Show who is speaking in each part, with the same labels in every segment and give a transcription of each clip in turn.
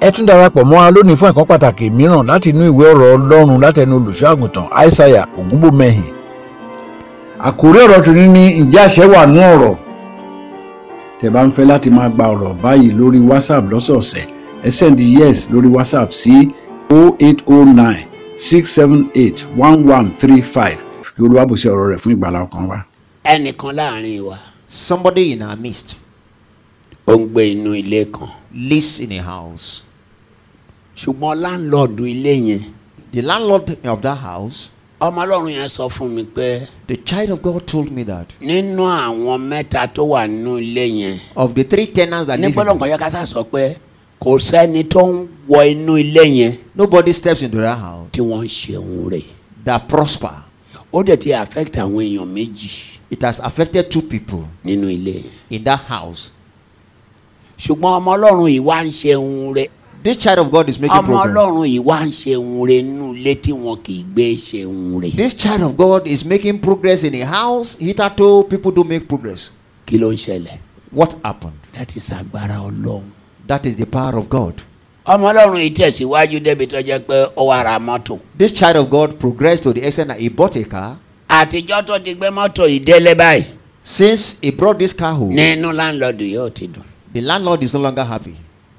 Speaker 1: ẹ tún darapọ̀ mọ́ wa lónìí fún ẹ̀kọ́ pàtàkì mìíràn láti inú ìwé ọ̀rọ̀ ọlọ́run látẹnu olùṣọ́àgùntàn aishaiya ògúnbòmẹ́hìn.
Speaker 2: àkórí ọ̀rọ̀ tòní ni ǹjẹ́ àṣẹ wà nú ọ̀rọ̀ tẹ́ bá ń fẹ́ láti máa gba ọ̀rọ̀ báyìí lórí whatsapp lọ́sọ̀ọ̀sẹ̀ ẹ send yes lórí whatsapp sí 0809 678 1135 kí olúwa bùsí ọ̀rọ̀ rẹ̀ fún ìgbàlá ọkàn wa.
Speaker 3: ẹnìkan láàrin wa
Speaker 4: Somebody in our midst
Speaker 3: ó ń gbé inú ilé kan
Speaker 4: lives in a house.
Speaker 3: ṣùgbọ́n láńlọ́ọ̀dù ilé yẹn
Speaker 4: The landlord of that house,
Speaker 3: ọmọ ọlọ́run yẹn sọ fún mi pé
Speaker 4: the child of God told me that
Speaker 3: nínú àwọn mẹ́ta tó wà nínú ilé yẹn
Speaker 4: of the three tenants that live, in
Speaker 3: nígbọ́dọ̀
Speaker 4: it,
Speaker 3: nǹkan yẹ ká sá sọ pé kò sẹ́ni tó ń wọ inú ilé yẹn
Speaker 4: nobody steps into that house
Speaker 3: tí wọ́n ń ṣe òun rẹ̀
Speaker 4: that prosper.
Speaker 3: ó dẹ̀ ti affect àwọn èèyàn méjì
Speaker 4: It has affected two people
Speaker 3: nínú ilé yẹn
Speaker 4: in that house.
Speaker 3: ṣùgbọ́n ọmọ ọlọ́run yìí wá ń ṣe òun rẹ̀
Speaker 4: This child of God is making
Speaker 3: ọmọ
Speaker 4: progress.
Speaker 3: ọlọ́run yìí wá ń ṣe òun rẹ̀ nínú ilé tí wọn kì í gbé ṣe òun rẹ̀
Speaker 4: This child of God is making progress in a house. Hitherto, people don't make progress.
Speaker 3: kí ló ń ṣẹlẹ̀
Speaker 4: What happened?
Speaker 3: láti ṣàgbára ọlọ́run
Speaker 4: That is the power of God.
Speaker 3: ọmọ ọlọ́run yìí tẹ̀síwájú débi tó jẹ́ pé ó wá ra mọ́tò
Speaker 4: This child of God progressed to the extent that he bought a car.
Speaker 3: àtijọ́ tó ti gbé mọ́tò yìí délé báyìí
Speaker 4: Since he brought this car home,
Speaker 3: nínú láńlọ́ọ̀dù yóò ti dùn
Speaker 4: the landlord is no longer happy.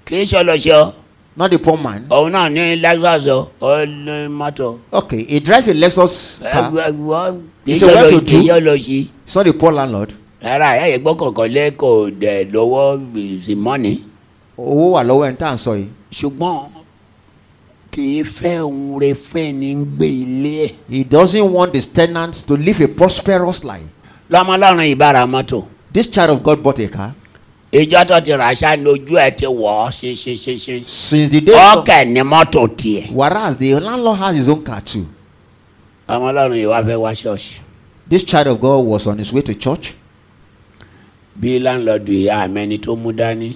Speaker 3: kì í ṣọlọṣọ
Speaker 4: Not the poor man.
Speaker 3: òun náà ní Lexus o, ó ní mọ́tò
Speaker 4: Okay, he drives a Lexus car.
Speaker 3: Ẹgbẹ́- kì í
Speaker 4: It's a well to
Speaker 3: ṣọlọ-
Speaker 4: do.
Speaker 3: kì í ṣọlọṣí
Speaker 4: It's not a poor landlord.
Speaker 3: rárá ẹ̀ ẹ̀ gbọ́kànkan lẹ́kọ̀ọ́ dẹ̀ lọ́wọ́ sí mọ́ni
Speaker 4: owó wà lọ́wọ́ ẹni tá à ń sọ yìí.
Speaker 3: ṣùgbọ́n kì í fẹ́ òun rẹ fẹ́ ní ń gbé ilé ẹ̀
Speaker 4: He doesn't want his tenant to live a prosperous life.
Speaker 3: lọ́mọ ọlọ́run yìí bá ra mọ́tò
Speaker 4: This child of God bought a car.
Speaker 3: ìjọ́ tó ti rà ṣáà ní ojú ẹ̀ ti wọ̀ ọ́ ṣinṣinṣinṣin
Speaker 4: Since the day.
Speaker 3: ọkẹ ni mọ́tò tiẹ̀.
Speaker 4: Whereas the landlord has his own car too.
Speaker 3: ọmọ ọlọ́run yìí wá fẹ́ wá ṣọ́ọ̀ṣì
Speaker 4: This child of God was on his way to church.
Speaker 3: bí láńlọ́ọ̀dù ìyá àmẹ́ni tó mú dání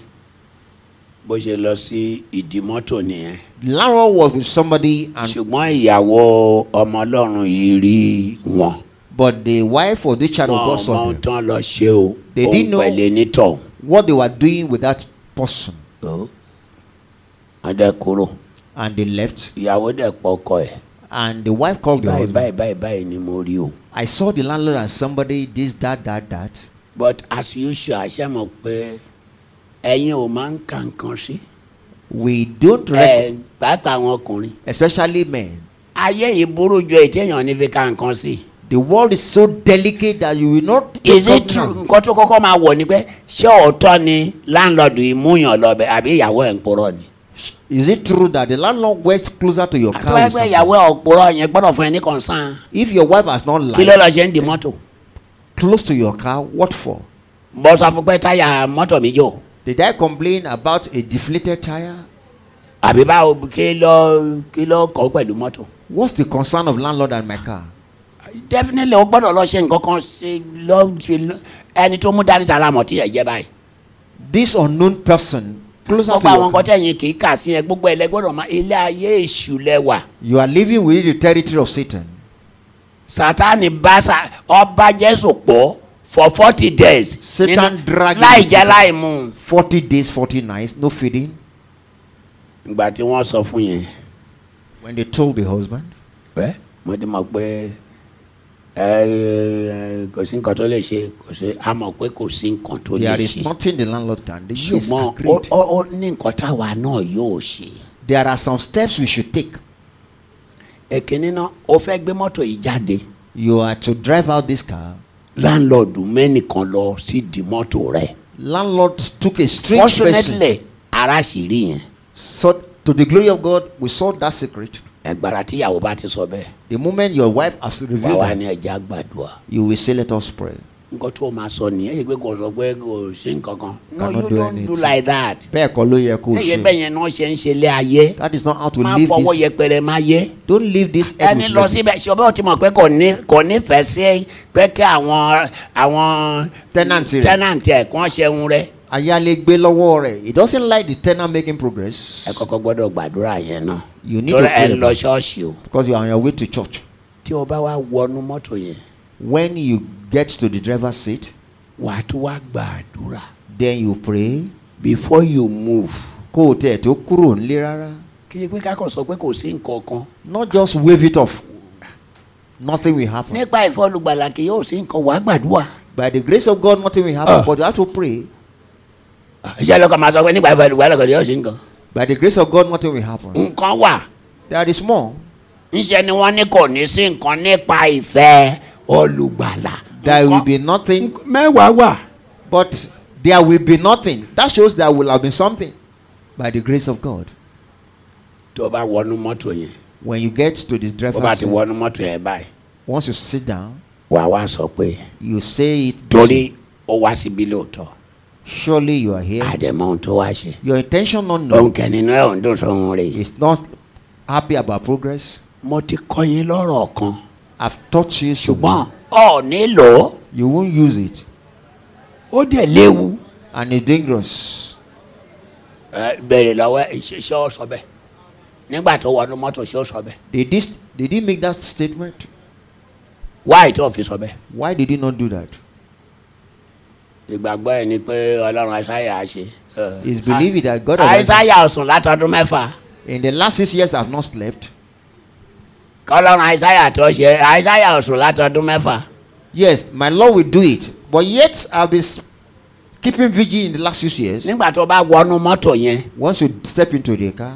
Speaker 3: bó ṣe lọ sí ìdí mọ́tò nìyẹn.
Speaker 4: The landlord was with somebody, and
Speaker 3: ṣùgbọ́n ìyàwó ọmọ ọlọ́run yìí rí wọn.
Speaker 4: but the wife of the child of
Speaker 3: wọn
Speaker 4: God
Speaker 3: ọmọ
Speaker 4: saw
Speaker 3: ohun
Speaker 4: them.
Speaker 3: tán lọ ṣe o
Speaker 4: They
Speaker 3: òun
Speaker 4: didn't know-
Speaker 3: pẹ̀lẹ́ nítọ̀.
Speaker 4: what they were doing with that person,
Speaker 3: wọ́n dẹ̀ kúrò
Speaker 4: and they left.
Speaker 3: ìyàwó dẹ̀ pọkọ ẹ̀
Speaker 4: And the wife called the
Speaker 3: báyìí
Speaker 4: husband.
Speaker 3: báyìí báyìí báyìí ni mo rí o.
Speaker 4: I saw the landlord and somebody this that that that.
Speaker 3: but as usual àṣẹ mọ̀ pé ẹ̀yin ò máa ń kà nǹkan sí.
Speaker 4: We don't
Speaker 3: ẹ̀
Speaker 4: rec-
Speaker 3: pàápàá àwọn ọkùnrin.
Speaker 4: especially men.
Speaker 3: ayé yìí burú ju èyí téèyàn ní fi ka nǹkan sí.
Speaker 4: The world is so delicate that you will not.
Speaker 3: is it true nǹkan tó kọ́kọ́ máa wọ̀ ni pé ṣé ọ̀tọ̀ ni láńlọ́ọ̀dù ìmúyàn lọ́bẹ̀ àbí ìyàwó ẹ̀ ń purọ́ ni.
Speaker 4: Is it true that the landlord went closer to your car? with
Speaker 3: àtúwẹ́gbẹ́
Speaker 4: something?
Speaker 3: ìyàwó ẹ̀ ò purọ́ yẹn gbọ́dọ̀ fún ẹ ní kọ̀ǹsán
Speaker 4: If your wife has not
Speaker 3: kí
Speaker 4: lied
Speaker 3: ló lọ ṣe ń di mọ́tò.
Speaker 4: close to your car, what for?
Speaker 3: bọ́ sọ fún pé táyà mọ́tò mi jò
Speaker 4: Did I complain about a deflated tire?
Speaker 3: àbí báwo kí ló kí ló kọ́ pẹ̀lú mọ́tò.
Speaker 4: What's the concern of landlord and my car?
Speaker 3: definitely o gbọ́dọ̀ lọ ṣe nǹkan kan ṣe lọ ṣe lọ- ẹni tó mú dání tara mọ̀ tí yẹ jẹ́ báyìí.
Speaker 4: This unknown person closer to
Speaker 3: gbogbo àwọn
Speaker 4: your
Speaker 3: nǹkan
Speaker 4: car.
Speaker 3: tẹ̀yìn kì í kà sí yẹn gbogbo ẹlẹ́gbọ́dọ̀ máa ilé ayé èṣù lẹ́wà.
Speaker 4: You are living within the territory of Satan.
Speaker 3: sátani bá sa ọba jésù pọ̀ for forty days.
Speaker 4: Satan
Speaker 3: Nínú-
Speaker 4: drag him
Speaker 3: láì
Speaker 4: to
Speaker 3: jẹ́
Speaker 4: Satan.
Speaker 3: láì mú.
Speaker 4: Forty days, forty nights, no feeding.
Speaker 3: ìgbà tí wọ́n sọ fún yẹn.
Speaker 4: When they told the husband,
Speaker 3: ẹ mo ti mọ̀ pé ẹ ẹ, kò sí nǹkan tó lè ṣe kò sí a mọ̀ pé kò sí nǹkan tó lè
Speaker 4: there is
Speaker 3: ṣe.
Speaker 4: nothing the landlord can do. Yes,
Speaker 3: ṣùgbọ́n ó
Speaker 4: agreed.
Speaker 3: ó- ó ní nǹkan táwa náà yóò ṣe.
Speaker 4: There are some steps we should take.
Speaker 3: èkínní náà o fẹ́ gbé mọ́tò yìí jáde
Speaker 4: You are to drive out this car.
Speaker 3: láńlọ́ọ̀dù mẹ́nìkan lọ sídìí mọ́tò rẹ̀.
Speaker 4: landlord took a strange person.
Speaker 3: fortunately ara sì rí yẹn.
Speaker 4: So, to the glory of God, we saw that secret.
Speaker 3: ẹgbàrá tíyàwó bá ti sọ bẹ́ẹ̀
Speaker 4: The moment your wife has
Speaker 3: wàá
Speaker 4: revealed
Speaker 3: wà
Speaker 4: that,
Speaker 3: ní ẹja gbàdúrà.
Speaker 4: you will say, "Let us pray."
Speaker 3: nǹkan tó o máa sọ nìyẹn èyí pé kò sọ pé kò sí nǹkan kan. no
Speaker 4: Cannot
Speaker 3: you
Speaker 4: do
Speaker 3: don't do
Speaker 4: anything.
Speaker 3: like that.
Speaker 4: Bẹ́ẹ̀ kọ́ ló yẹ kó o
Speaker 3: ẹyẹ
Speaker 4: ṣe.
Speaker 3: bẹ́ẹ̀ yẹn náà ṣe ń ṣe lé ayé.
Speaker 4: That is not how to
Speaker 3: máa
Speaker 4: live
Speaker 3: fọwọ́
Speaker 4: this.
Speaker 3: yẹpẹrẹ máa yẹ.
Speaker 4: Don't live this. earth
Speaker 3: ẹni
Speaker 4: with
Speaker 3: lọ
Speaker 4: love.
Speaker 3: síbẹ̀ ṣe ọbẹ̀ òtí mọ̀ pé kò ní kò nífẹ̀ẹ́ sí pé kí àwọn àwọn
Speaker 4: Tenant rẹ̀.
Speaker 3: tenant ẹ̀ kí wọ́n ṣe ń rẹ̀.
Speaker 4: Ayálégbé lọ́wọ́ rẹ̀. He doesn't like the tenant making progress
Speaker 3: ẹ kọ́kọ́ gbọ́dọ̀ gbàdúrà yẹn náà.
Speaker 4: You need
Speaker 3: torí
Speaker 4: to
Speaker 3: ẹ
Speaker 4: pray
Speaker 3: lọ
Speaker 4: about it.
Speaker 3: ṣọ́ọ̀ṣì o.
Speaker 4: because you are on your way to church.
Speaker 3: tí o bá wá wọnú mọ́tò yẹn
Speaker 4: When you get to the driver's seat,
Speaker 3: wà á tún wá gbàdúrà
Speaker 4: then you pray.
Speaker 3: before you move
Speaker 4: kó o tẹ̀ tó kúrò nílé rárá
Speaker 3: kí ni pé kákan sọ pé kò sí nǹkan kan
Speaker 4: not just wave it off nothing will happen
Speaker 3: nípa ìfọlùgbàlà kì yóò sí nǹkan wàá gbàdúrà.
Speaker 4: by the grace of God nothing will happen but you have to pray
Speaker 3: iṣẹ́ lọ́kàn máa sọ pé nípa ìfọlùgbàlà kò yóò sí nǹkan.
Speaker 4: by the grace of God nothing will happen
Speaker 3: nǹkan wà
Speaker 4: there is more
Speaker 3: ńṣe ni wọ́n ní kò ní sí nǹkan nípa ìfẹ́ olùgbàlà.
Speaker 4: there will be nothing
Speaker 3: mẹ́wàá wà.
Speaker 4: but there will be nothing that shows there will have been something by the grace of God
Speaker 3: tó bá wọnú mọ́tò yẹn
Speaker 4: when you get to the
Speaker 3: bó bá
Speaker 4: driver's
Speaker 3: ti
Speaker 4: seat
Speaker 3: wọnú mọ́tò yẹn báyìí
Speaker 4: once you sit down
Speaker 3: wàá wá sọ pé
Speaker 4: you say it
Speaker 3: torí ó wá síbi lóòótọ́
Speaker 4: surely you are here
Speaker 3: àdèmọ́ ohun tó wá ṣe
Speaker 4: your intention not known
Speaker 3: òun kẹ́ni inú ẹ̀ òun dùn sóhun rè é.
Speaker 4: is not happy about progress
Speaker 3: mo ti kọ́ yín lọ́rọ̀ kan
Speaker 4: I've taught you so
Speaker 3: ṣùgbọ́n ọ nílò ó.
Speaker 4: you won't use it
Speaker 3: ó dẹ̀ léwu.
Speaker 4: and it's dangerous
Speaker 3: ẹ bèrè lọ́wọ́ ẹ ṣe ṣé ó sọ bẹ́ẹ̀ nígbà tó wọnú mọ́tò ṣé ó sọ bẹ́ẹ̀
Speaker 4: they did they did make that statement
Speaker 3: wáyé tó fi sọ bẹ́ẹ̀.
Speaker 4: why did he not do that
Speaker 3: ìgbàgbọ́ ẹ ni pé ọlọ́run àìsáyà á ṣe.
Speaker 4: He's believing that God has-
Speaker 3: àìsáyà sùn látọdún mẹ́fà
Speaker 4: in the last six years I've not slept
Speaker 3: kọ́lọ́run àìsáyà tó ṣe àìsáyà sùn látọdún mẹ́fà.
Speaker 4: yes my Lord will do it but yet I've been s- keeping vigil in the last six years
Speaker 3: nígbà tó bá wọnú mọ́tò yẹn
Speaker 4: once you step into the car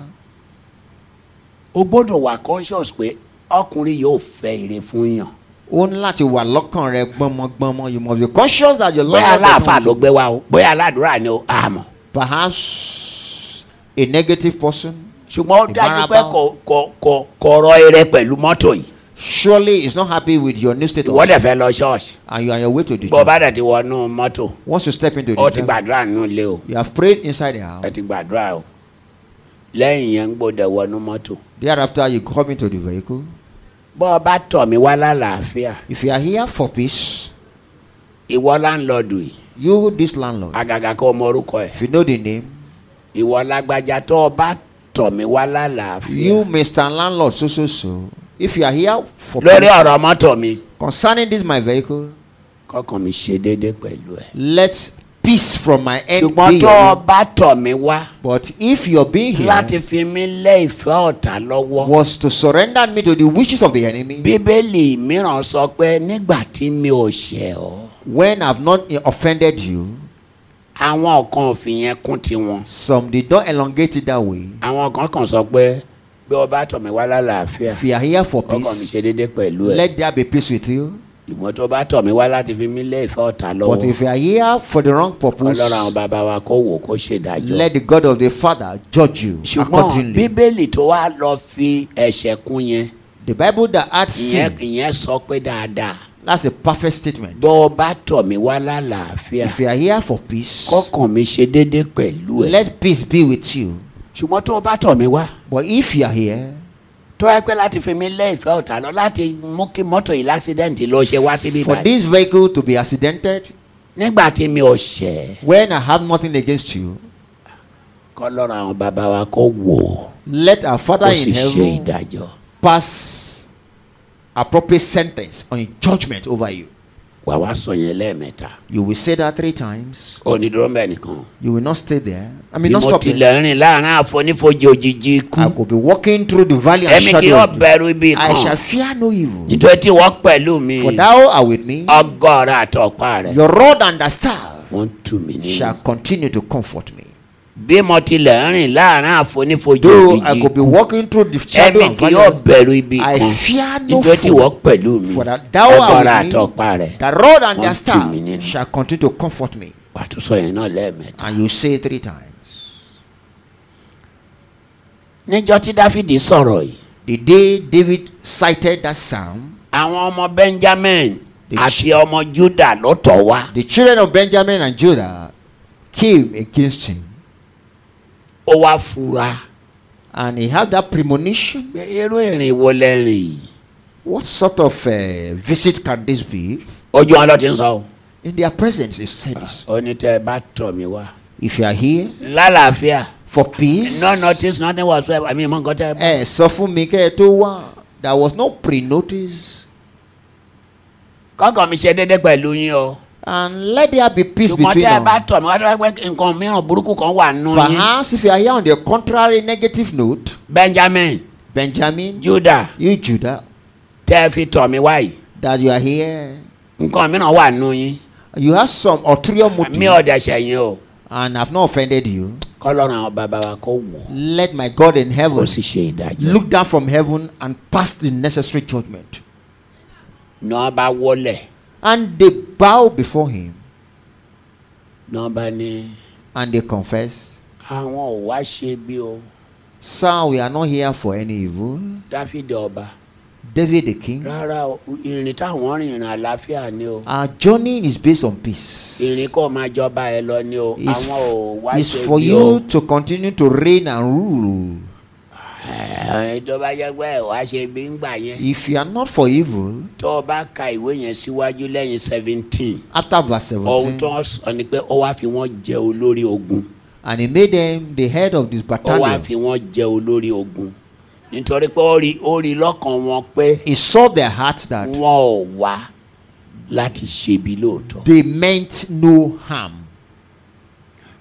Speaker 3: o gbọ́dọ̀ wà conscious pé ọkùnrin yóò fẹ́ ire fún yàn.
Speaker 4: ó ní láti wà lọ́kàn rẹ gbọmọgbọmọ you must be conscious that your Lord
Speaker 3: bóyá
Speaker 4: God does
Speaker 3: aláàfáà
Speaker 4: not-
Speaker 3: ló gbé wa o bóyá aládùúrà ni o àmọ́.
Speaker 4: perhaps a negative person
Speaker 3: ṣùgbọ́n ó dájú pé
Speaker 4: Ìfarabà.
Speaker 3: kò kò kò kò rọ ire pẹ̀lú mọ́tò yìí
Speaker 4: surely is not happy with your new status
Speaker 3: ìwọ dẹ̀ fẹ́ lọ ṣọ́ọ̀ṣì
Speaker 4: and you are on your way to the
Speaker 3: bó o
Speaker 4: church
Speaker 3: bá dẹ̀ ti wọnú mọ́tò
Speaker 4: once you step into
Speaker 3: ó
Speaker 4: the
Speaker 3: ti
Speaker 4: church
Speaker 3: gbàdúrà nínú ilé o
Speaker 4: you have prayed inside the house
Speaker 3: ẹ ti gbàdúrà o lẹ́yìn yẹn ń gbọ́dọ̀ wọnú mọ́tò
Speaker 4: thereafter you come into the vehicle
Speaker 3: bó o bá tọ̀ mí wá lálàáfíà
Speaker 4: if you are here for peace
Speaker 3: ìwọ láńlọ́ọ̀dù yìí
Speaker 4: you this landlord
Speaker 3: àgàgà kó o mọ orúkọ ẹ̀
Speaker 4: if you know the name
Speaker 3: ìwọ lágbájá tó o bá tọ̀ mí wá lálàáfíà
Speaker 4: you Mr landlord so so so if you are here for
Speaker 3: lórí
Speaker 4: peace
Speaker 3: ọ̀rọ̀ mọ́tò mi
Speaker 4: concerning this my vehicle
Speaker 3: kọ́kàn mi ṣe déédéé pẹ̀lú ẹ̀.
Speaker 4: let peace from my end
Speaker 3: ṣùgbọ́n
Speaker 4: be
Speaker 3: tó o
Speaker 4: your
Speaker 3: bá tọ̀ mí wá
Speaker 4: but if your being
Speaker 3: láti
Speaker 4: here
Speaker 3: fi mí lé ìfẹ́ ọ̀tá lọ́wọ́
Speaker 4: was to surrender me to the wishes of the enemy
Speaker 3: bíbélì mìíràn sọ pé nígbà tí mi ò ṣẹ̀ ọ́
Speaker 4: when I've not i- offended you,
Speaker 3: àwọn kan ò fi yẹn kún tiwọn
Speaker 4: some they don't elongate it that way.
Speaker 3: àwọn kan kàn sọ pé bí o bá tọ̀ mí wá lálàáfíà
Speaker 4: If you are here for
Speaker 3: kọ́kàn mi
Speaker 4: peace,
Speaker 3: ṣe déédéé pẹ̀lú ẹ̀
Speaker 4: let there be peace with you.
Speaker 3: ìmọ̀ tó bá tọ̀ mí wá láti fi mí lé ìfẹ́ ọ̀tá
Speaker 4: But
Speaker 3: lọ́wọ́
Speaker 4: if you are here for the wrong purpose,
Speaker 3: Oh. ọlọ́run àwọn bàbá wa kó wò kó ṣèdájọ́
Speaker 4: let the God of the Father judge you
Speaker 3: ṣùgbọ́n
Speaker 4: accordingly.
Speaker 3: bíbélì tó wá lọ fi ẹ̀ṣẹ̀ kún yẹn
Speaker 4: The Bible that had
Speaker 3: ìyẹn
Speaker 4: sin,
Speaker 3: ìyẹn sọ pé dáadáa
Speaker 4: that's a perfect statement.
Speaker 3: bó o bá tọ̀ mí wá lálàáfíà
Speaker 4: If you are here for peace,
Speaker 3: kọ́kàn mi ṣe déédéé pẹ̀lú ẹ̀
Speaker 4: let peace be with you.
Speaker 3: ṣùgbọ́n tó o bá tọ̀ mí wá
Speaker 4: But if you are here,
Speaker 3: tó yẹ pé láti fi mí lé ìfẹ́ ọ̀tá lọ láti mú kí mọ́tò yìí láksidẹ́ǹtì ló ṣe wá síbí
Speaker 4: for
Speaker 3: báyìí
Speaker 4: this vehicle to be accidented,
Speaker 3: nígbà tí mi ò ṣẹ̀
Speaker 4: when I have nothing against you,
Speaker 3: kọ́ lọ́rọ̀ àwọn bàbá wa kó wò ó
Speaker 4: let our Father
Speaker 3: kó sì ṣe
Speaker 4: in heaven
Speaker 3: ìdájọ́
Speaker 4: pass appropriate sentence on judgment over you.
Speaker 3: wà wá sọ yẹn lẹ́ẹ̀mẹ́ta
Speaker 4: You will say that three times.
Speaker 3: onídùúró mẹ́rin nìkan
Speaker 4: You will not stay there. I
Speaker 3: bí
Speaker 4: mean, not
Speaker 3: mo
Speaker 4: stop there.
Speaker 3: tilẹ̀ ń rìn láàrin àfonífojì òjijì ikú
Speaker 4: I could be walking through the valley and
Speaker 3: ẹ̀mí kì
Speaker 4: shadow.
Speaker 3: yóò
Speaker 4: of death.
Speaker 3: bẹ̀rù ibi
Speaker 4: I shall
Speaker 3: kan
Speaker 4: fear no evil.
Speaker 3: nítorí tí wọ́n pẹ̀lú mi
Speaker 4: For thou art with me.
Speaker 3: Ah. ọgọ́ rẹ̀ àtọ̀pá rẹ̀
Speaker 4: Your rod and the staff
Speaker 3: wọ́n tù mí nínú.
Speaker 4: shall continue to comfort me.
Speaker 3: bí mo tilẹ̀ ń rìn láàrin àfonífojì
Speaker 4: Though I
Speaker 3: òjijì
Speaker 4: could be
Speaker 3: ikú
Speaker 4: walking through the shadow
Speaker 3: ẹ̀mí
Speaker 4: and
Speaker 3: kì
Speaker 4: valley.
Speaker 3: yóò
Speaker 4: of death,
Speaker 3: bẹ̀rù ibi
Speaker 4: I
Speaker 3: kan
Speaker 4: fear no
Speaker 3: nítorí tí
Speaker 4: fool.
Speaker 3: wọ́n pẹ̀lú mi
Speaker 4: For that thou
Speaker 3: ọgọ́
Speaker 4: art
Speaker 3: rẹ̀
Speaker 4: with
Speaker 3: àtọ̀pá rẹ̀
Speaker 4: me. The rod and
Speaker 3: wọ́n
Speaker 4: the
Speaker 3: tù mí
Speaker 4: staff
Speaker 3: nínú.
Speaker 4: shall continue to comfort me.
Speaker 3: wà á tún sọ yẹn náà lẹ́ẹ̀mẹ́ta.
Speaker 4: And you say three times.
Speaker 3: níjọ́ tí dáfídì sọ̀rọ̀ yìí
Speaker 4: The day David cited that psalm,
Speaker 3: àwọn ọmọ benjamin
Speaker 4: The
Speaker 3: àti ọmọ juda ló tọ̀ wá
Speaker 4: the children of Benjamin and Judah came against him.
Speaker 3: ó wá fura
Speaker 4: and he had that premonition.
Speaker 3: pé irú ìrìn wo lẹ́rìn yìí
Speaker 4: What sort of uh, visit can this be?
Speaker 3: ojú wọn ló ti ń sọ o.
Speaker 4: In their presence, he said, this.
Speaker 3: ó ní tẹ́ ẹ bá tọ̀ mí wá
Speaker 4: If you are here
Speaker 3: lálàáfíà
Speaker 4: for peace,
Speaker 3: no notice nothing was well àmì ìmọ̀ nǹkan tẹ́ ẹ.
Speaker 4: eh, sọ fún mi kẹ́ ẹ tó wá. There was no pre notice.
Speaker 3: kọ́kọ́ mi ṣe déédéé pẹ̀lú yín o
Speaker 4: and let there be peace
Speaker 3: ṣùgbọ́n
Speaker 4: between
Speaker 3: tẹ́ ẹ bá
Speaker 4: us.
Speaker 3: tọ̀ mí wá tó wá pé nǹkan mìíràn burúkú kan wà nù yín
Speaker 4: Perhaps if you are here on the contrary negative note,
Speaker 3: benjamin
Speaker 4: Benjamin,
Speaker 3: juda
Speaker 4: you Judah,
Speaker 3: tẹ́ ẹ fi tọ̀ mí wá yìí
Speaker 4: that you are here,
Speaker 3: nǹkan mìíràn wà nù yín
Speaker 4: you have some ulterior
Speaker 3: mi
Speaker 4: motive
Speaker 3: ò dẹ̀ ṣẹ̀yìn o
Speaker 4: and have not offended you.
Speaker 3: kọ́lọ́run àwọn bàbá wa kó wò ó
Speaker 4: Let my God in
Speaker 3: kó
Speaker 4: heaven
Speaker 3: sì ṣe ìdájọ́
Speaker 4: look down from heaven and pass the necessary judgment.
Speaker 3: ní wọ́n bá wọlé
Speaker 4: And they bow before him
Speaker 3: ní wọ́n bá ní
Speaker 4: and they confess,
Speaker 3: àwọn ò wá ṣe bí o
Speaker 4: Sir, we are not here for any evil.
Speaker 3: dáfídì ọba
Speaker 4: David the king,
Speaker 3: rárá o ìrìn táwọn rìn ìrìn àlàáfíà ni o
Speaker 4: our journey is based on peace.
Speaker 3: ìrìn kò máa jọba ẹ lọ ni o
Speaker 4: It's,
Speaker 3: àwọn ò wá
Speaker 4: it's
Speaker 3: ṣe
Speaker 4: for
Speaker 3: bí o
Speaker 4: you to continue to reign and rule.
Speaker 3: Ẹ̀, tó bá jẹ́ pé ẹ wá ṣe bí ń gbà yẹn
Speaker 4: If you are not for evil,
Speaker 3: tó o bá ka ìwé yẹn síwájú lẹ́yìn seventeen
Speaker 4: after verse
Speaker 3: ohun
Speaker 4: 17,
Speaker 3: tó ń sọ ni pé ó wá fi wọ́n jẹ olórí ogun
Speaker 4: and he made them the head of this
Speaker 3: ó wá
Speaker 4: battalion.
Speaker 3: fi wọ́n jẹ olórí ogun nítorí pé ó rí ó rí lọ́kàn wọn pé
Speaker 4: He saw their hearts that
Speaker 3: wọn ò wá láti ṣebi lóòótọ́
Speaker 4: they meant no harm.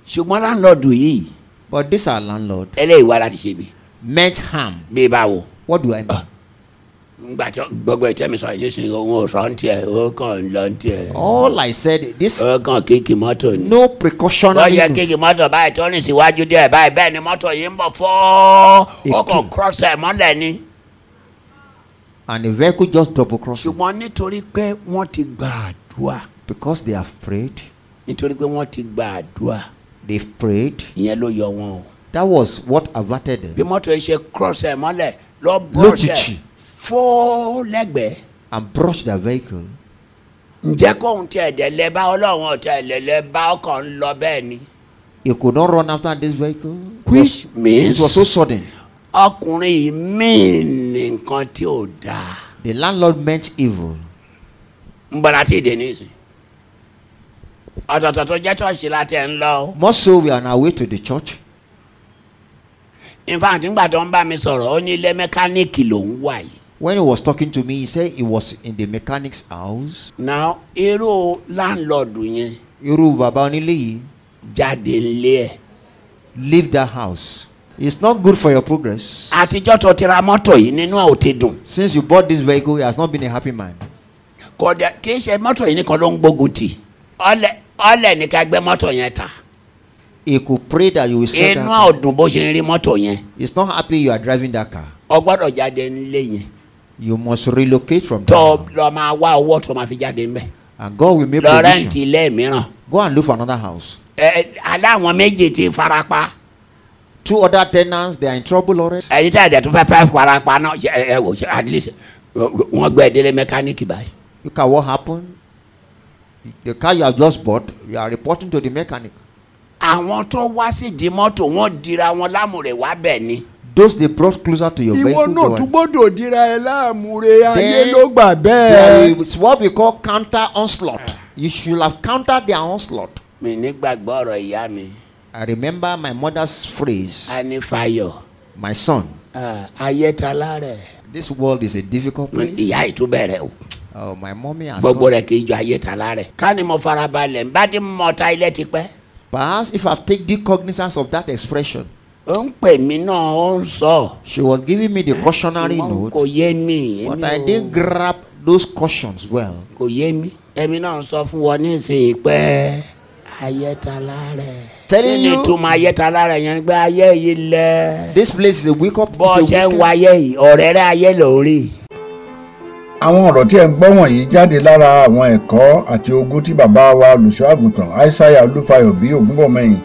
Speaker 3: ṣùgbọ́n láńlọ́ọ̀dù yìí
Speaker 4: But this our landlord
Speaker 3: eléyìí wá láti ṣebi
Speaker 4: meant harm.
Speaker 3: bí báwo
Speaker 4: What do I mean?
Speaker 3: ngbà tí gbogbo ìtẹ́mi sọ yìí nísìnyí òun ò sọ ń tiẹ̀ ó kàn ń lọ ń tiẹ̀
Speaker 4: All I said, this
Speaker 3: ó kàn kíkì mọ́tò ni.
Speaker 4: no precaution.
Speaker 3: wọ́n yẹ kíkì mọ́tò báyìí tó ní síwájú díẹ̀ báyìí bẹ́ẹ̀ ni mọ́tò yìí ń bọ̀ fọ́ọ́ ó
Speaker 4: Èké.
Speaker 3: kàn cross ẹ̀ mọ́lẹ̀ ni.
Speaker 4: And the vehicle just double crossed
Speaker 3: ṣùgbọ́n nítorí pé wọ́n ti gba àdúrà
Speaker 4: because they have prayed.
Speaker 3: nítorí pé wọ́n ti gba àdúrà
Speaker 4: They've prayed.
Speaker 3: ìyẹn ló yọ wọn o.
Speaker 4: That was what averted them.
Speaker 3: bí mọ́tò yìí ṣe cross ẹ̀ mọ́lẹ̀ lọ brush ẹ̀
Speaker 4: Lójijì.
Speaker 3: fọ́ọ́ lẹ́gbẹ̀ẹ́.
Speaker 4: and brush their vehicle.
Speaker 3: ǹjẹ́ kóhun tiẹ̀ dẹ̀ lẹ́ bá ọlọ́run ọ̀tẹ̀ lẹ̀ lẹ́ bá ọkàn ń lọ bẹ́ẹ̀ ni.
Speaker 4: He could not run after this vehicle.
Speaker 3: which
Speaker 4: It
Speaker 3: means
Speaker 4: was so sudden.
Speaker 3: ọkùnrin yìí míì ní nǹkan tí ò dáa.
Speaker 4: The landlord meant evil.
Speaker 3: ń bọ̀ láti èdè nísìn. ọ̀tọ̀ọ̀tọ̀ tó jẹ́ chọ́ọ̀ṣì láti ẹ̀ ń lọ. o.
Speaker 4: More so, we are on our way to the church.
Speaker 3: in fact nígbà tó ń bá mi sọ̀rọ̀ ó ní ilé mẹkáníìkì ló ń wà yìí.
Speaker 4: When he was talking to me, he said he was in the mechanic's house.
Speaker 3: now irú láńlọ́ọ̀dù yẹn
Speaker 4: Irú bàbá onílé yìí,
Speaker 3: jáde ńlé ẹ̀.
Speaker 4: leave that house. It's not good for your progress.
Speaker 3: àtijọ́ tó ti ra mọ́tò yìí nínú ẹ̀ ò ti dùn.
Speaker 4: Since you bought this vehicle, he has not been a happy man.
Speaker 3: kò dẹ̀ kì í ṣe mọ́tò yìí nìkan ló ń gbógun tì. ọlẹ̀ ọlẹ̀ ní ká gbé mọ́tò yẹn ta.
Speaker 4: He could pray that you will sell
Speaker 3: inú ẹ̀
Speaker 4: that.
Speaker 3: ò dùn bó ṣe ń rí mọ́tò yẹn.
Speaker 4: He's not happy you are driving that car.
Speaker 3: o gbọ́dọ̀ jáde ńlé yẹn.
Speaker 4: You must relocate from
Speaker 3: tó
Speaker 4: there.
Speaker 3: lọ máa wá owó tó máa fi jáde ńbẹ̀.
Speaker 4: And God will make
Speaker 3: lọ rẹ́ǹtì
Speaker 4: provision.
Speaker 3: ilé mìíràn.
Speaker 4: Go and look for another house.
Speaker 3: ẹ aláwọn méjì ti farapa
Speaker 4: Two other tenants, they are in trouble already.
Speaker 3: ẹyin tí àjẹ tó fẹ́ fẹ́ farapa náà ṣe ẹ ẹ wò ṣe at least wọ́n gbé délé mẹkáníìkì báyìí
Speaker 4: Look at what happened. The car you have just bought, you are reporting to the mechanic.
Speaker 3: àwọn tó wá sí di mọ́tò wọ́n dira wọn lámùrè wá bẹ̀ ni.
Speaker 4: Those they brought closer to your vehicle. they were-
Speaker 3: gbọ́dọ̀ dira ẹ láàmúre
Speaker 4: ayé ló
Speaker 3: gbà
Speaker 4: There is what we call counter onslaught. You should have countered their onslaught.
Speaker 3: mi nígbàgbọ́ ọ̀rọ̀ ìyá mi
Speaker 4: I remember my mother's phrase,
Speaker 3: a ní fayọ
Speaker 4: my son,
Speaker 3: ah, ayé ta lárẹ̀
Speaker 4: this world is a difficult place.
Speaker 3: ìyá ìtúbẹ̀rẹ̀ o
Speaker 4: Oh, my mommy has
Speaker 3: gbogbo
Speaker 4: gone.
Speaker 3: rẹ̀ kì í jọ ayé ta lárẹ̀ ká ni mo farabalẹ̀ n bá ti mọ̀ta ilé ti pẹ́
Speaker 4: Perhaps if I've taken cognizance of that expression,
Speaker 3: ó ń pè mí náà ó ń sọ
Speaker 4: she was giving me the cautionary
Speaker 3: Ṣùgbọ́n kò
Speaker 4: note,
Speaker 3: yé mi
Speaker 4: but
Speaker 3: èmi
Speaker 4: I
Speaker 3: ò-
Speaker 4: didn't grab those cautions well.
Speaker 3: kò yé mi. ẹ̀mí náà sọ fún wọn ní ìsìn pé ayẹ́tala rẹ̀.
Speaker 4: Telling
Speaker 3: kí ni
Speaker 4: you-
Speaker 3: túmọ̀ ayẹ́tala rẹ̀ yẹn gbé ayé yìí lẹ̀.
Speaker 4: This place is a wake up.
Speaker 3: bọ́ ọ
Speaker 4: it's a
Speaker 3: ṣe ń
Speaker 4: wicked-
Speaker 3: wa ayé yìí ọ̀rẹ́ rẹ̀ ayé ló ń rí.
Speaker 1: àwọn ọ̀rọ̀ tí ẹ̀ ń gbọ́ wọ̀nyí jáde lára àwọn ẹ̀kọ́ àti ogún tí bàbá wa olùṣọ́ àgùntàn aishaiya olúfayọ bí ògúnbọ̀mọyìn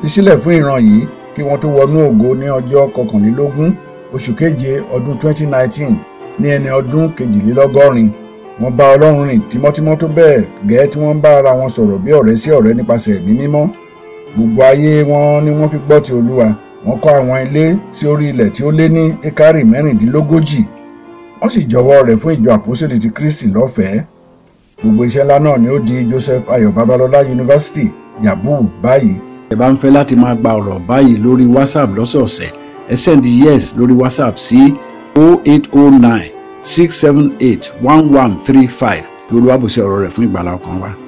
Speaker 1: fi sílẹ̀ fún ìran yìí kí wọ́n tó wọnú ògo ní ọjọ́ kọkànlélógún oṣù keje ọdún 2019 ní ẹni ọdún kejìlélọ́gọ́rin wọ́n bá ọlọ́run rìn tímọ́tímọ́ tó bẹ́ẹ̀ gẹ́ẹ́ tí wọ́n ń bá ara wọn sọ̀rọ̀ bí ọ̀rẹ́ sí ọ̀rẹ́ nípasẹ̀ ẹ̀mí mímọ́ gbogbo ayé wọn ni wọ́n fi gbọ́ ti olúwa wọ́n kọ́ àwọn ilé sí orí ilẹ̀ tí ó lé ní ekari mẹ́rìndínlógójì wọ́n sì jọ̀wọ́ rẹ̀ fún ìjọ àpòsílẹ̀ ti kristi lọ́fẹ̀ẹ́ gbogbo iṣẹ́ ńlá náà ni ó di joseph ayọ̀ babalọ́lá yunifásitì yabu báyìí
Speaker 2: ẹ bá ń fẹ́ láti máa gba ọ̀rọ̀ báyìí lórí whatsapp lọ́sọ̀ọ̀sẹ̀ ẹ send yes lórí whatsapp sí 0809 678 1135 kí olúwàbùsẹ̀ ọ̀rọ̀ rẹ̀ fún ìgbàlá ọkàn wa.